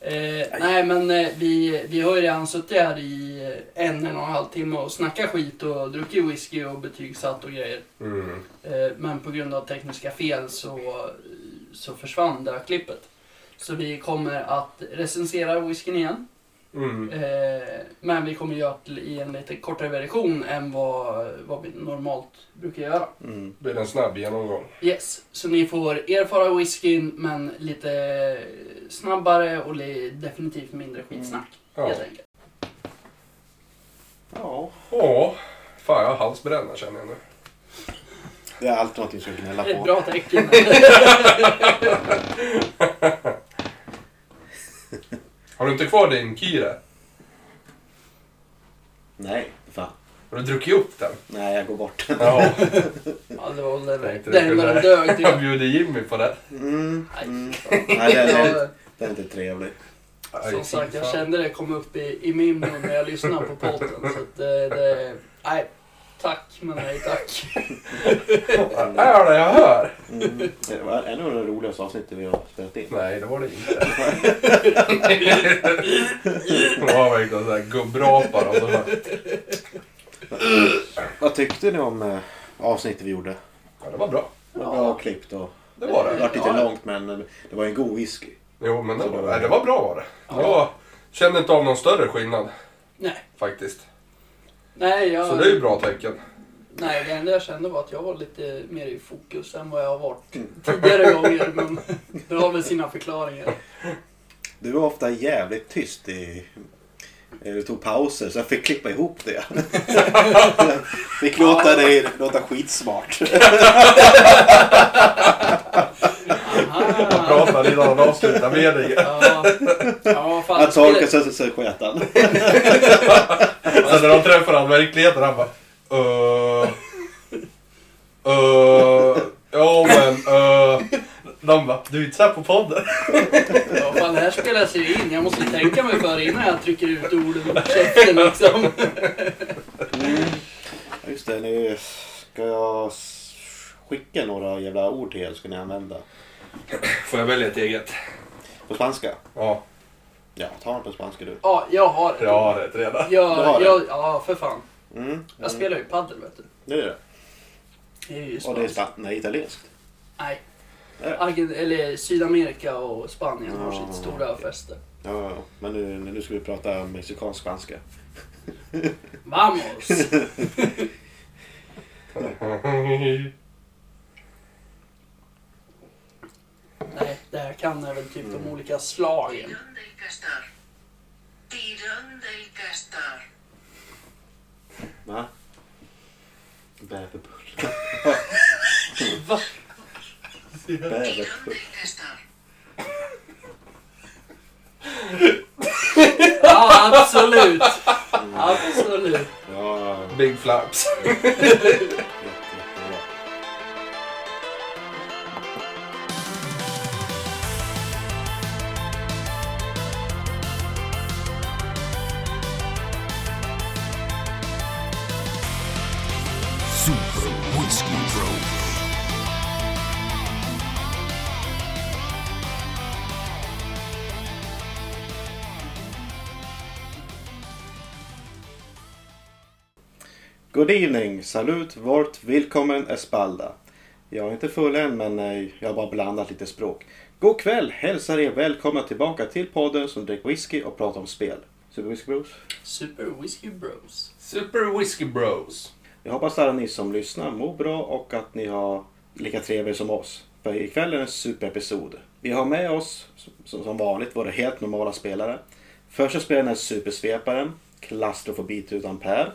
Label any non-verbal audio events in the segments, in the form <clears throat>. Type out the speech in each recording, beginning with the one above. Eh, nej men eh, vi, vi har ju redan suttit här i eh, en, en och en halv timme och snackat skit och druckit whisky och betygsatt och grejer. Mm. Eh, men på grund av tekniska fel så, så försvann det här klippet. Så vi kommer att recensera whiskyn igen. Mm. Eh, men vi kommer göra det i en lite kortare version än vad, vad vi normalt brukar göra. Mm. Blir det en snabb genomgång? Yes, så ni får erfara whiskyn men lite snabbare och li- definitivt mindre skitsnack. Ja. Helt enkelt. Ja. Ja. Fan, jag har halsbränna känner jag nu. Det är alltid någonting som jag gnälla Det är ett på. bra tecken. Har du inte kvar din Kira? Nej, va? Har du druckit upp den? Nej, jag går bort. Ja. <laughs> ja, det var typ. väl det Tänkte det du enda kunde- de dög Jag till. bjuder Jimmy på det. Mm. Mm. Nej, den, den, Jag, <laughs> den är inte trevlig. som Aj, sagt, jag fan. kände det komma upp i, i min mun när jag lyssnade på podden. Så att det, det, nej, tack men nej tack. Vad Är det jag hör? Mm. Det var en av de roligaste avsnitten vi har spelat in. Nej, det var det <laughs> inte. Det var verkligen sådär liksom gubbrapar och så bara... Vad tyckte ni om eh, avsnittet vi gjorde? Ja, det var bra. Det var bra klippt och Det var det det. var lite Ja. långt men det var en god whisky. Jo, men det var, nej, det var bra var det. Jag kände inte av någon större skillnad Nej, faktiskt. nej, Så jag, det är ju bra tecken. nej, det enda jag kände var att jag var lite mer i fokus än vad jag har varit Mm. tidigare gånger. Men <laughs> det har väl sina förklaringar. Du var ofta jävligt tyst i... eh, Du tog pauser så jag fick klippa ihop <laughs> det. Jag fick låta dig låta skitsmart. Aha. Prata innan han avslutar meningen. Ja, ja fan, det Att spelar- torka sig så sket han. Sen när de träffar han i verkligheten, han bara... Uh, uh, ja men... Uh, de bara, du är inte så här på podden. Ja, fan, det här spelas ju in. Jag måste tänka mig för innan jag trycker ut orden ur käften liksom. Ja, Just det, nu ska jag s- skicka några jävla ord till er ska ni använda. Får jag välja ett eget? På spanska? Ja, Ja, ta den på spanska du. Ja, jag har det. jag har ett redan. Jag, Du har det? jag, ja, för fan. Mm, Jag spelar ju padel vet du. det är det. Det är ju Och det är spanskt. span- nej, italienskt. Nej. Är det? Argen, eller Sydamerika och Spanien har Ja, sitt stora fäste. Ja, ja, ja. men nu, nu ska vi prata mexikansk spanska. <laughs> Vamos! Nej, det här kan jag väl typ Mm. de olika slagen. Tirón del castor. Tirón del castor. Va? Bäverbull. Va? Tirón Bäverbull. del castor. Ja, absolut! Absolut. Ja, Big flaps. jätte, jättebra. Super Whiskey Bros. Good evening, salut, vort, willkommen, espalda. Jag är inte full än, men eh, jag har bara blandat lite språk. God kväll, hälsar er välkomna tillbaka till podden som dricker whisky och pratar om spel. Super Whisky Bros. Super Whiskey Bros. Super Whiskey Bros. Jag hoppas alla ni som lyssnar mår bra och att ni har lika trevligt som oss. För ikväll är det en superepisod. Vi har med oss, som som vanligt, våra helt normala spelare. Första spelaren är supersveparen, klaustrofobitutan Per.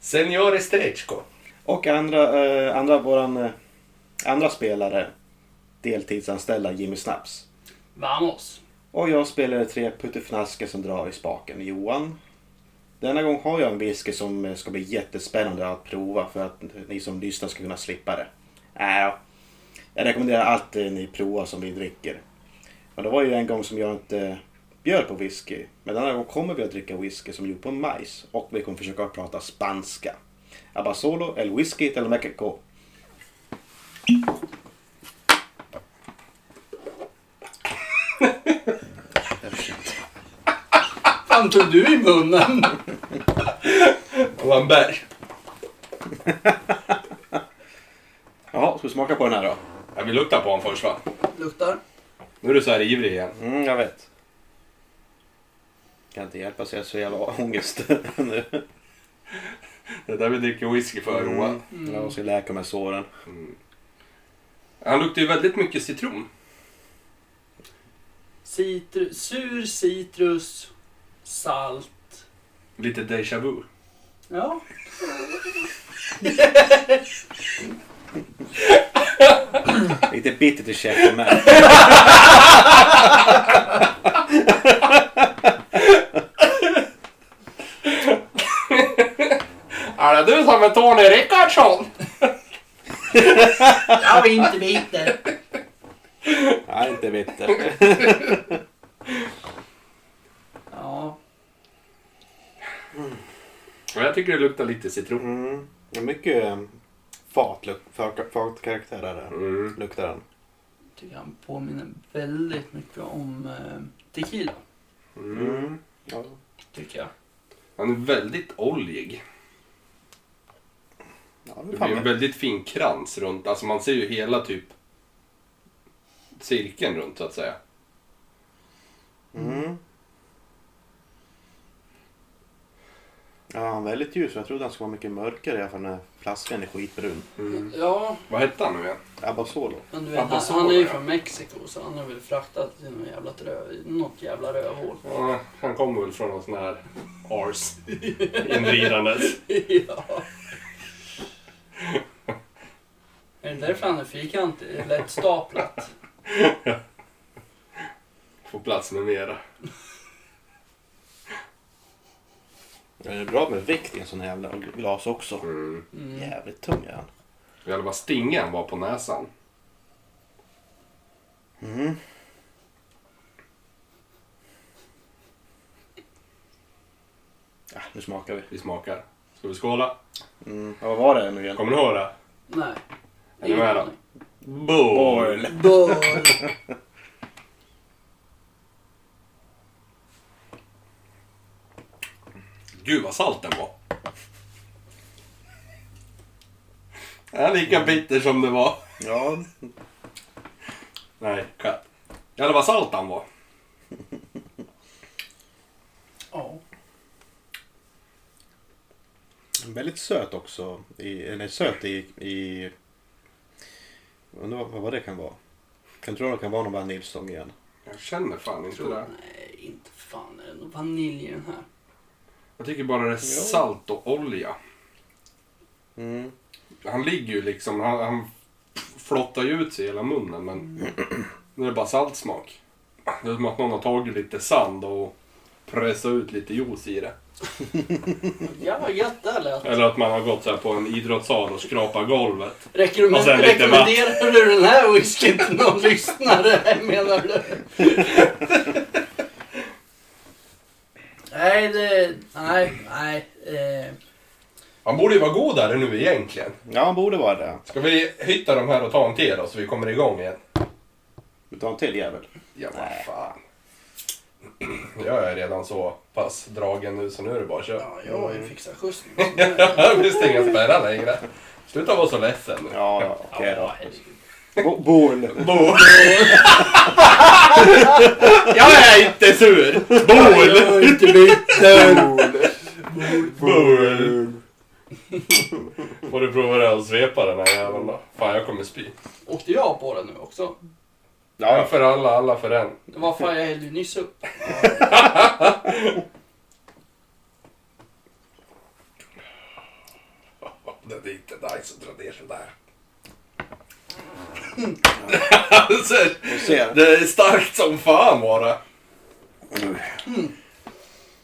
Senor Estrechko. Och andra, eh, andra, våran, eh, andra spelare, deltidsanställda Jimmy Snaps. Vamos! Och jag spelar tre puttifnaskar som drar i spaken, Johan. Denna gång har jag en whisky som eh, ska bli jättespännande att prova för att ni som lyssnar ska kunna slippa det. Äh, jag rekommenderar alltid ni provar som vi dricker. Och det var ju en gång som jag inte bjöd på whisky. Men denna gång kommer vi att dricka whisky som är gjord på majs och vi kommer försöka prata spanska. Abasolo, el whisky, el Mexico. fan tog du i munnen? Det var en bärs. Jaha, ska vi smaka på den här då? Jag vill lukta på honom först va? Luktar. Nu är du så här ivrig igen. Mm, jag vet. Kan inte hjälpa sig, jag har så jävla ångest <laughs> nu. Det är där vi dricker whisky för Johan. Mm. Jag måste läka med såren. Han luktar ju väldigt mycket citron. Citru- sur citrus, salt. Lite déjà vu. Ja. Lite bittert i käften med. Är det du som är Tony Rickardsson? Jag är inte bitter. Nej, inte bitter. Ja. Jag tycker det luktar lite citron. Mm. Det är mycket eh, fatluk- fa- fatkaraktär är det. Mm. Luktar den. Tycker han påminner väldigt mycket om eh, tequila. Mm. Ja. Tycker jag. Han är väldigt oljig. Ja, det Det är fan blir en med. väldigt fin krans runt. Alltså man ser ju hela typ cirkeln runt så att säga. Mm. Ja, han är väldigt ljus. Jag trodde han skulle vara mycket mörkare i alla fall när flaskan är skitbrun. Mm. Ja, Vad hette han nu igen? Abbasolo. men du vet, han, Abbasol, han är ju ja. från Mexiko så han har väl fraktat till något jävla, röv, något jävla rövhål. Ja, han kommer väl från någon sån här <laughs> ars inridandes. ja. <laughs> Är det därför han är fyrkantig? Lätt staplat. Får plats med mera. Det är Eh, bra med vikt i en sån här jävla glas också. Mm. Jävligt tung är han. Jävlar vad stingig han var på näsan. Ja, Ah, nu smakar vi. Vi smakar. Ska vi skåla? Mm. Ja, vad var det nu igen? Kommer ni ihåg det? Nej. Är ni med då? Ingen Boom! Borl. aning. Boll. Gud vad salt den var. Den är lika bitter som det var. Ja, Nej, katt. Jävlar vad salt han var. Ja. väldigt söt också. I, eller söt i... i undrar vad, vad det kan vara. Kan tro att det kan vara någon vaniljstång igen. Jag känner fan inte det. Nej, inte fan är det någon vanilj i den här. Jag tycker bara det är salt och olja. Mm. Han ligger ju liksom, han, han flottar ju ut sig i hela munnen men nu är det bara saltsmak. Det är som att någon har tagit lite sand och pressat ut lite juice i det. Ja, vad gött det lät. Eller att man har gått så här på en idrottssal och skrapat golvet. Rekommend- Och sen lite rekommenderar du den här whiskyn till någon <laughs> lyssnare menar du? nej, det, nej, nej. Eh, Han borde ju vara godare nu egentligen. Ja, han borde vara det. Ska vi hitta de här och ta en till då så vi kommer igång igen? Vi tar en till jävel. Ja, vad fan. <clears throat> Jag är redan så pass dragen nu så nu är det bara att köra. ja, jag har ju fixat skjuts. <laughs> Det finns inga spärrar längre. Sluta vara så ledsen nu. Ja, ja, okej Ja, då. Bo- Borl. Bol. Jag är inte sur! Bol! jag är inte bitter. Bol! Får du prova det här och svepa den här jäveln då? Fan, jag kommer spy. Åkte jag på den nu också? En Ja, för alla, alla för en. Det var fan jag hällde ju nyss upp. Det är inte dags att dra ner sådär. Alltså, vi ser. det är starkt som fan bara.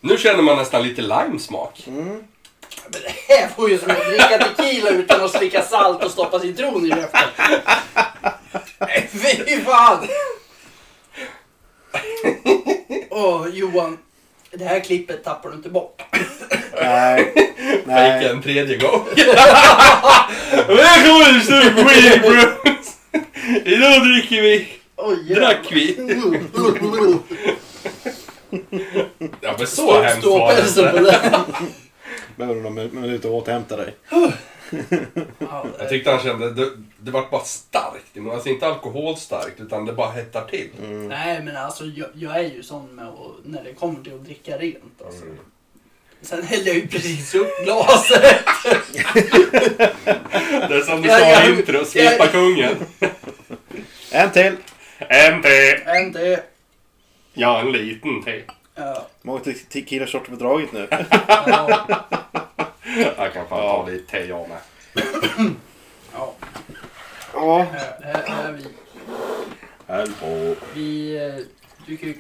Nu känner man nästan lite limesmak. Men det här var ju som att dricka tequila utan att slicka salt och stoppa citron i käften. Nej, Fy fan! Åh, Johan. Det här klippet tappar du inte bort. <laughs> Nej. Fejka Nej. en tredje gång. Välkommen till Queen <laughs> Bros! Idag dricker vi... <laughs> Oj, Drack vi? jävlar. Ja, väl så hemskt var det Ståpälsen på inte. <laughs> den. Behöver du någon minut att återhämta dig? eh, Jag tyckte han kände, det, det vart bara starkt i munnen. Alltså inte alkoholstarkt utan det bara hettar till. Nej men alltså jag, jag är ju sån med att, när det kommer till att dricka rent alltså. Mm. Sen hällde jag ju precis upp <laughs> glaset. <laughs> Det är som du Ja, sa ja. i intro, svepa Ja. kungen. En till! En till! En till. Ja, en liten till. eh, Ja, Många te- tequila-shorts på <laughs> draget nu. ja, Jag kan fan ta lite te jag med. ja. Ja. Här, här är vi. Häll på. Vi... eh, Du kan ju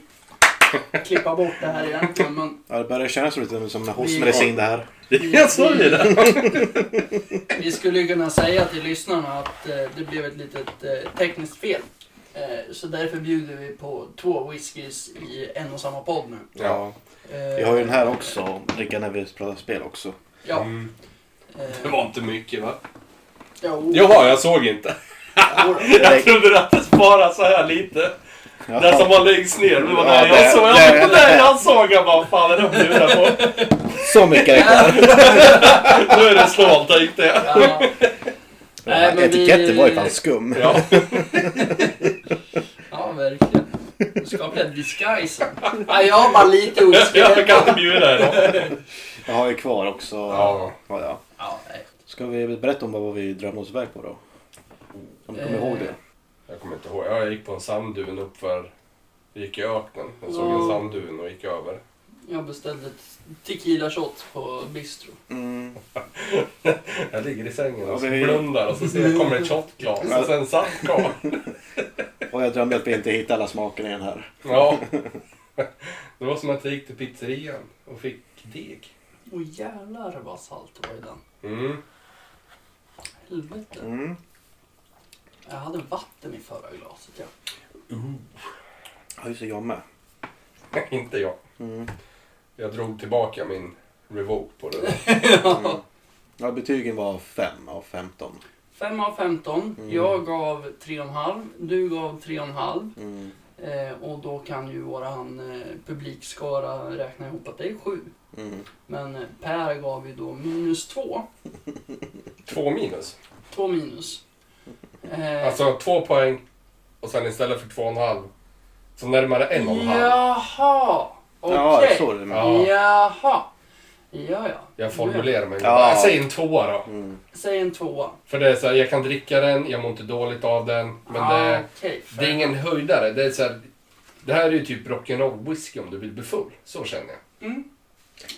klippa bort det här egentligen men ja, det börjar kännas lite som hostmedicin det här. <laughs> Jag sa ju det! vi skulle ju kunna säga till lyssnarna att eh, det blev ett litet eh, tekniskt fel. Eh, Så därför bjuder vi på två whiskys i en och samma podd nu. Ja. Eh, Vi har ju den här också, dricka när vi pratar spel också. Ja. Mm. eh, Det var inte mycket va? Jo, Jaha, jag såg inte. jodå. <laughs> Jag trodde att det sparade så här lite. Ja. Den som var längst ner, det var Ja, där det- jag såg. Jag det- var där jag såg. Jag bara, fan är det bjuder på? Så mycket är det kvar. Nu är det snålt tänkte jag. Ja. Nej, men vi- Etiketten var ju fan skum. Ja. Ja, verkligen. Du skapar en disguise. Ja, jag har bara lite whisky. <laughs> Jag kan inte bjuda idag. Jag har ju kvar också. Ja. Ja, ja. Ja, nej. Ska vi berätta om vad vi drömde oss iväg på då? Om du kommer Eh. ihåg det? Jag kommer inte ihåg. Jag gick på en sanddun uppför... Vi gick i öknen. Jag såg en Ja. sanddun och gick över. Jag beställde tequila shots på bistro. Mm. Jag ligger i sängen och Ja, det är- Alltså- blundar och så ser jag, kommer ett shotglas och sen satt kvar. Och jag drömde att vi inte hittade alla smakerna i den här. Ja. <laughs> Det var som att jag gick till pizzerian och fick deg. Åh jävlar vad salt det var i den. Mm. <laughs> Helvete. Mm. Jag hade vatten i förra glaset ja. Ja, just det, jag med. inte jag. Mm. Jag drog tillbaka min revoke på det där. Mm. Ja, betygen var 5 av 15. 5 av 15. Jag gav 3,5. Du gav 3,5. Mm. Eh, och då kan ju våran eh, publikskara räkna ihop att det är 7. Mm. Men eh, Per gav ju då minus 2. Två minus. 2 minus. Eh, Alltså två poäng och sen istället för två och en halv så närmare en och en halv. Jaha! Ja, Okej. så är det med. Ja. Jaha. Ja, ja. Jag formulerar mig. Ja. Jag säger en tvåa då. Säg en tvåa. För det är så här, jag kan dricka den, jag mår inte dåligt av den. Men ah, det, okej, det är ingen höjdare. Det är så här, det här är ju typ rock'n'roll whisky om du vill bli full. Så känner jag. Ja.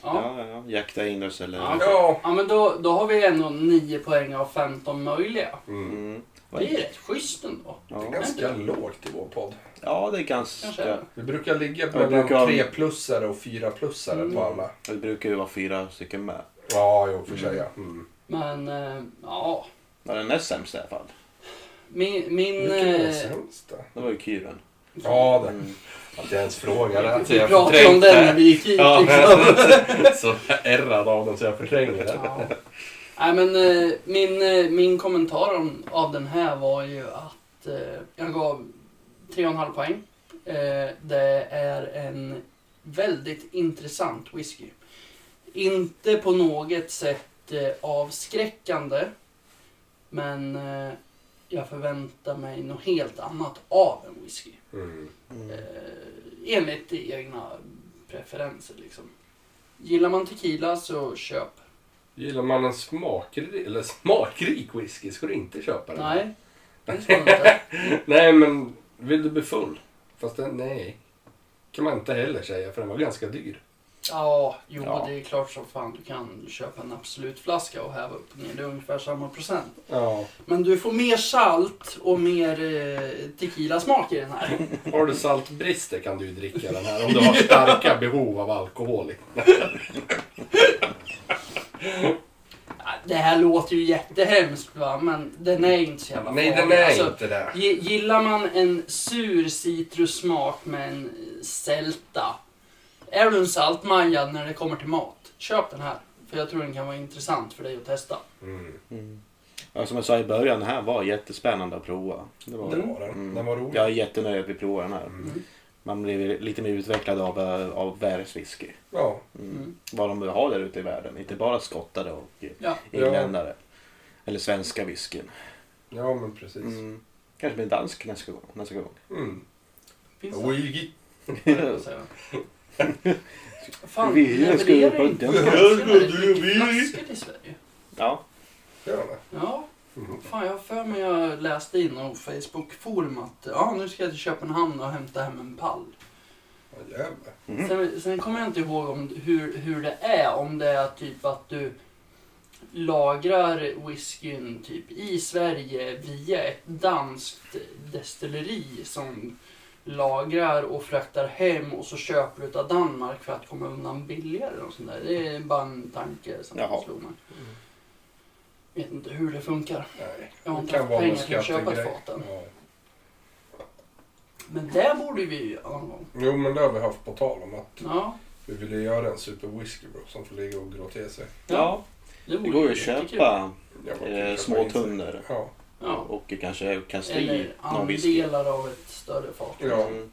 Ja, ja, ja. Jack Daniels eller... Ja. Ja. ja, men då, då har vi ändå 9 poäng av 15 möjliga. Mm. Mm. Det är rätt schysst ändå. Det är Ja. ganska lågt i vår podd. ja, det är ganska... Kanske. Ja, Vi brukar ligga Ja, vi mellan brukar ha- tre-plussare och fyra-plussare på alla. Det brukar ju vara fyra stycken med. Ja, jo, för sig ja. Mm. Men eh, ja, Ja, den näst sämsta i alla fall. min... min Vilken är den eh, sämsta? Det var ju Kyren. Ja, det. Att jag ens frågar det. Mm. vi pratade om den när vi gick hit. Ja, liksom. <laughs> så ärrad av den så jag förtränger det. Ja. Nej, men eh, min, eh, min kommentar om, av den här var ju att eh, jag gav 3,5 poäng. Eh, det är en väldigt intressant whisky. Inte på något sätt eh, avskräckande. Men eh, jag förväntar mig något helt annat av en whisky. Mm. Eh, enligt egna preferenser liksom. Gillar man tequila så köp. Gillar man en smakrik, eller smakrik whisky ska du inte köpa den. Nej, det ska man inte. Nej, men vill du bli full? Fast den, nej. kan man inte heller säga för den var ganska dyr. Ja, jo Ja. det är klart som fan du kan köpa en Absolutflaska och häva upp och ner. Det är ungefär samma procent. Ja. Men du får mer salt och mer eh, tequila-smak i den <laughs> här. Har du saltbrister kan du ju dricka den här om du har starka behov av alkohol. Ja, Det här låter ju jättehemskt va, men den är inte så jävla Nej, farlig. den är Alltså, inte det. gi- Gillar man en sur citrussmak med en eh, sälta. Är du en saltmaja när det kommer till mat, köp den här. För jag tror den kan vara intressant för dig att testa. Mm. Mm. Ja, som jag sa i början, den här var Mm. jättespännande att prova. Det var... Mm. Den var den. Den var rolig. Mm. Mm. Jag är jättenöjd att vi provade den här. Man blir lite mer utvecklad av, eh, av världswhisky. Ja. Mm. Vad de har där ute i världen. Inte bara skottare och eh, Ja. irländare. Eller svenska whiskyn. ja, men precis. Mm. Kanske blir dansk nästa gång. <laughs> Nästa gång. Mm. Finns det? Wigi. säga. <laughs> Fan, Vi- levererar jag skulle inte bara- danskarna Jag skulle- riktigt vi- flaskor i Sverige? Ja. Gör det. Mm. Ja, fan jag har för mig jag läste in på Facebook-forum att ja, nu ska jag till Köpenhamn och hämta hem en pall. Ja, jävlar. Mm. Sen, sen kommer jag inte ihåg om, hur, hur det är. Om det är typ att du lagrar whiskyn typ i Sverige via ett danskt destilleri som lagrar och fraktar hem och så köper du utav Danmark för att komma undan billigare och sånt där. Det är bara en tanke som Jaha. slog mig. Vet inte hur det funkar. Nej. Jag har Det inte kan haft vara pengar någon till att köpa ett skattegrej. fat än. Ja. Men det borde vi ju göra någon gång. Jo, men det har vi haft på tal om att Ja, vi ville göra en super whisky bro som får ligga och grå till sig. Ja. det Det vore går ju att jättekul. köpa Ja, man kan eh, köpa små in sig. tunnor. Ja. Ja. Och kanske kasta i Eller någon whisky. andelar av ett större fat. Ja. Mm.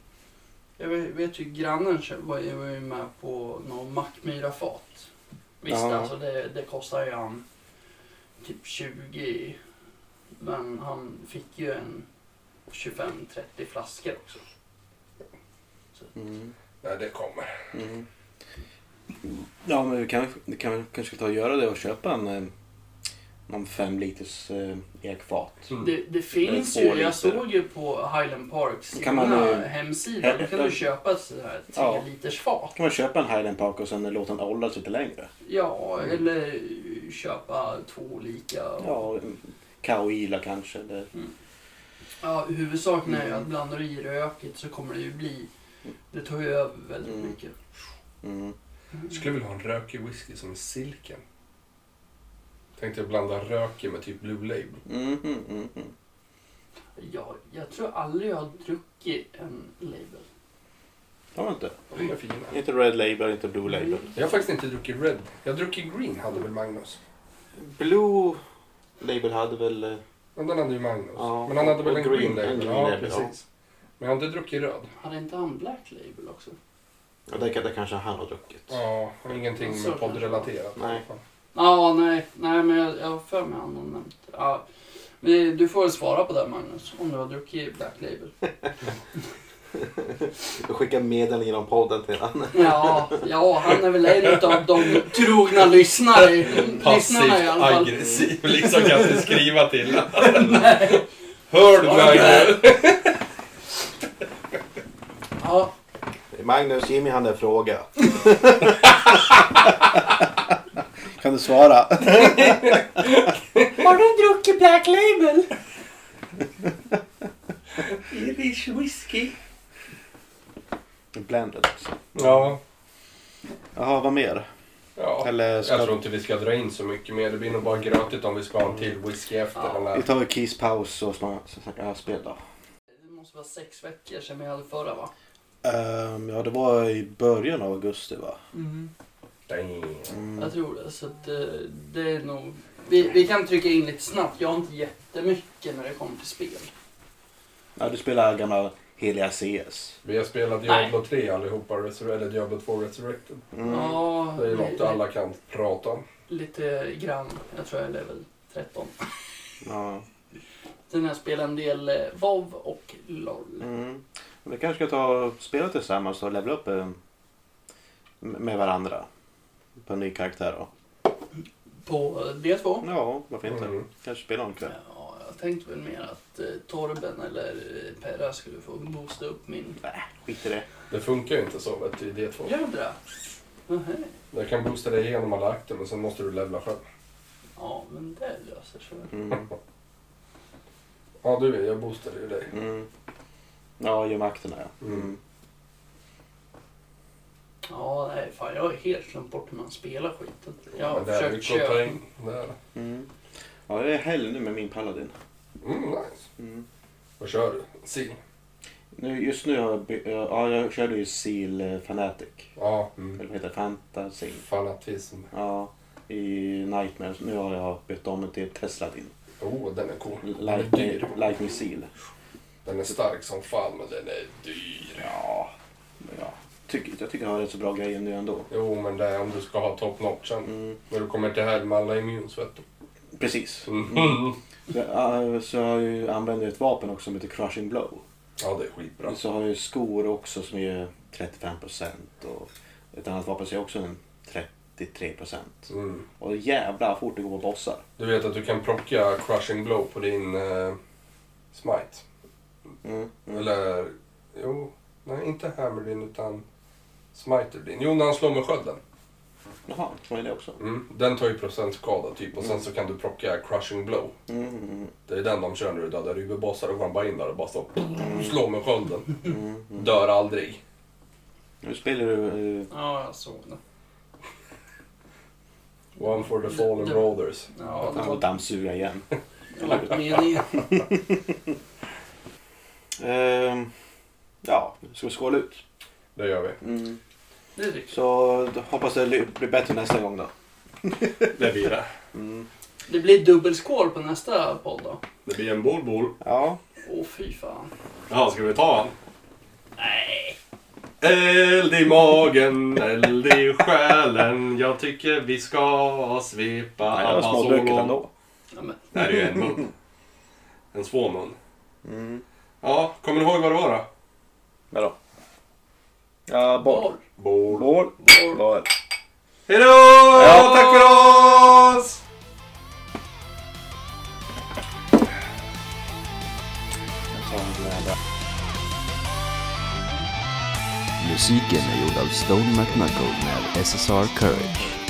Jag vet, vet ju grannen kö- var ju var ju med på någon Mackmyra-fat. Visst, Ja. alltså det, det kostar ju han typ 20. Men han fick ju en 25-30 flaskor också. Mm. Nej, det kommer. Mm. Ja, men vi kan, vi kan, kanske ta och göra det och köpa en eh, någon fem liters eh, ekfat. Mm. Det, det finns två ju, jag liter. såg ju på Highland Parks Kan man, egna eh, hemsida, då kan hämta- du köpa ett sånt här 10 Ja. liters fat. kan man köpa en Highland Park och sen låta den åldras lite längre. Ja, eller köpa två olika. Mm. Ja, mm, Kaoila kanske. Eller... Ja, huvudsaken är ju Mm. att blandar du i röket så kommer det ju bli... Det tar ju över väldigt Mm. mycket. Mm. Skulle vilja ha en rökig whisky som är silken. Tänkte jag blanda röken med typ Blue Label. Mm, mm, mm, mm. Jag, jag tror aldrig jag har druckit en label. De var inte. De är fina. Inte Red Label, inte Blue Mm. Label. Jag har faktiskt inte druckit Red. Jag har druckit Green hade väl Magnus. Blue Label hade väl... eh, Men den hade ju Magnus. Ja, Men han hade väl och en Green- Green, Label. en Green ja, Label, ja. precis. Men jag har inte druckit röd. Hade inte han black label också? Ja, det, det kanske han har druckit. Ja, och ingenting Så med poddrelaterat. Nej. Ja, nej, nej men jag, jag har för mig han har nämnt det. ja. Men det- Du får väl svara på det Magnus, om du har druckit black <laughs> label. Jag skickar medel genom podden till honom. Ja, ja han är väl en av de trogna lyssnare, lyssnarna i alla fall. aggressiv. Liksom kan jag inte skriva till <laughs> Hör du Magnus? Ja, Magnus, Jimmy hade en fråga. kan du svara? Har du druckit Black Label? Irish whisky. Blended också. Ja. liksom. Jaha, vad mer? ja. Eller ska Jag tror inte vi ska dra in så mycket mer. Det blir nog bara grötigt om vi ska ha en till whisky efter Ja. den vi här. tar väl Keys paus och så så snackar jag spel då. Det måste vara sex veckor sedan vi hade förra va? Ehm, ja, det var i början av augusti va? Mm. Damn. Jag tror det. Så att, eh, det är nog... Vi, vi kan trycka in lite snabbt. Jag har inte jättemycket när det kommer till spel. Ja, du spelar gamla heliga CS. Vi har spelat Diablo 3 allihopa, Resur- eller Diablo 2 Resurrected. Mm. Ja, Det är ju något li- alla kan prata om. lite grann. Jag tror jag är level 13. Ja. Sen har jag spelat en del eh, WoW och LOL. Mm. Vi kanske ska ta och spela tillsammans och levla upp eh, med varandra. På en ny karaktär då. På eh, D2. Ja, varför inte? Mm. Kanske spela någon kväll. Ja, jag tänkte väl mer att eh, Torben eller eh, Perra skulle få boosta upp min... Skit i det. Det funkar ju inte så vet du, i D2. Gör det? Nähä. Jag kan boosta dig igenom alla akter men sen måste du levla själv. Ja, men det löser sig. väl. <laughs> Mm. Ja du, jag boostade ju dig. Mm. Ja, ge mig akterna ja. Mm. Ja, nej fan. Jag har helt glömt bort hur man spelar skiten. Jag har Men det är försökt mycket att köpa... ta in. Det är det. Mm. Ja, jag är hell nu med min paladin. Mm, nice. Mm. Vad kör du? Sil? Nu, just nu har jag, by- ja, jag körde ju Seal eh, Fanatic. Ja. Eller Mm. vad heter det? Fantasy. Fanatism. Ja, i Nightmares. Nu har jag bytt om det till Tesladin. Oh, den är cool. Den är eh, Lightning, dyr. Lightning Seal. Den är stark som fan men den är dyr. Ja, tycker, jag tycker han har rätt så bra grejer nu ändå. Jo, men det är om du ska ha top notchen. Mm. När du kommer till här med alla immuns, vet du. Precis. Mm. Så, äh, så jag har ju- använder jag ett vapen också som heter Crushing Blow. Ja, det är skitbra. Så har jag ju skor också som är 35% och ett annat vapen som är också en 33%. Mm. Och jävlar vad fort det går på bossar. Du vet att du kan plocka crushing blow på din eh, smite. Mm. Mm. Eller... Jo, nej inte Hammerlin utan Smiterlin. Jo, när han slår med skölden. Jaha, så är det också. Mm. Den tar ju procentskada typ och sen så kan du plocka crushing blow. Mm, mm, Det är den de kör när du dödar ryggbossar och går bara in där och bara så slår med skölden. mm, mm. Dör aldrig. Nu spelar du... eh, Ja, jag såg det. One for the fallen Det- brothers. Ja, det Han får var, dammsuga igen. det var inte meningen. Ehm, ja, ska vi skåla ut? Det gör vi. Mm. Det är riktigt. Så då hoppas det ly- blir bättre nästa gång då. Det blir det. Mm. Det blir dubbelskål på nästa podd då. Det blir en bolbol. Ja. Åh fy fan. Ja, ska vi ta han? Nej. Eld i magen, eld i själen. Jag tycker vi ska svepa Nej, det var smådrucket ändå. Ja, men, Det här är ju en mun. En svår mun. Mm. Ja, kommer ni ihåg vad det var då? Vadå? Ja, boll. borr. Bord. Boll. Boll. Boll. Hejdå! Ja. Tack för oss! Musiken är gjord av Stone McNuckle med SSR Courage.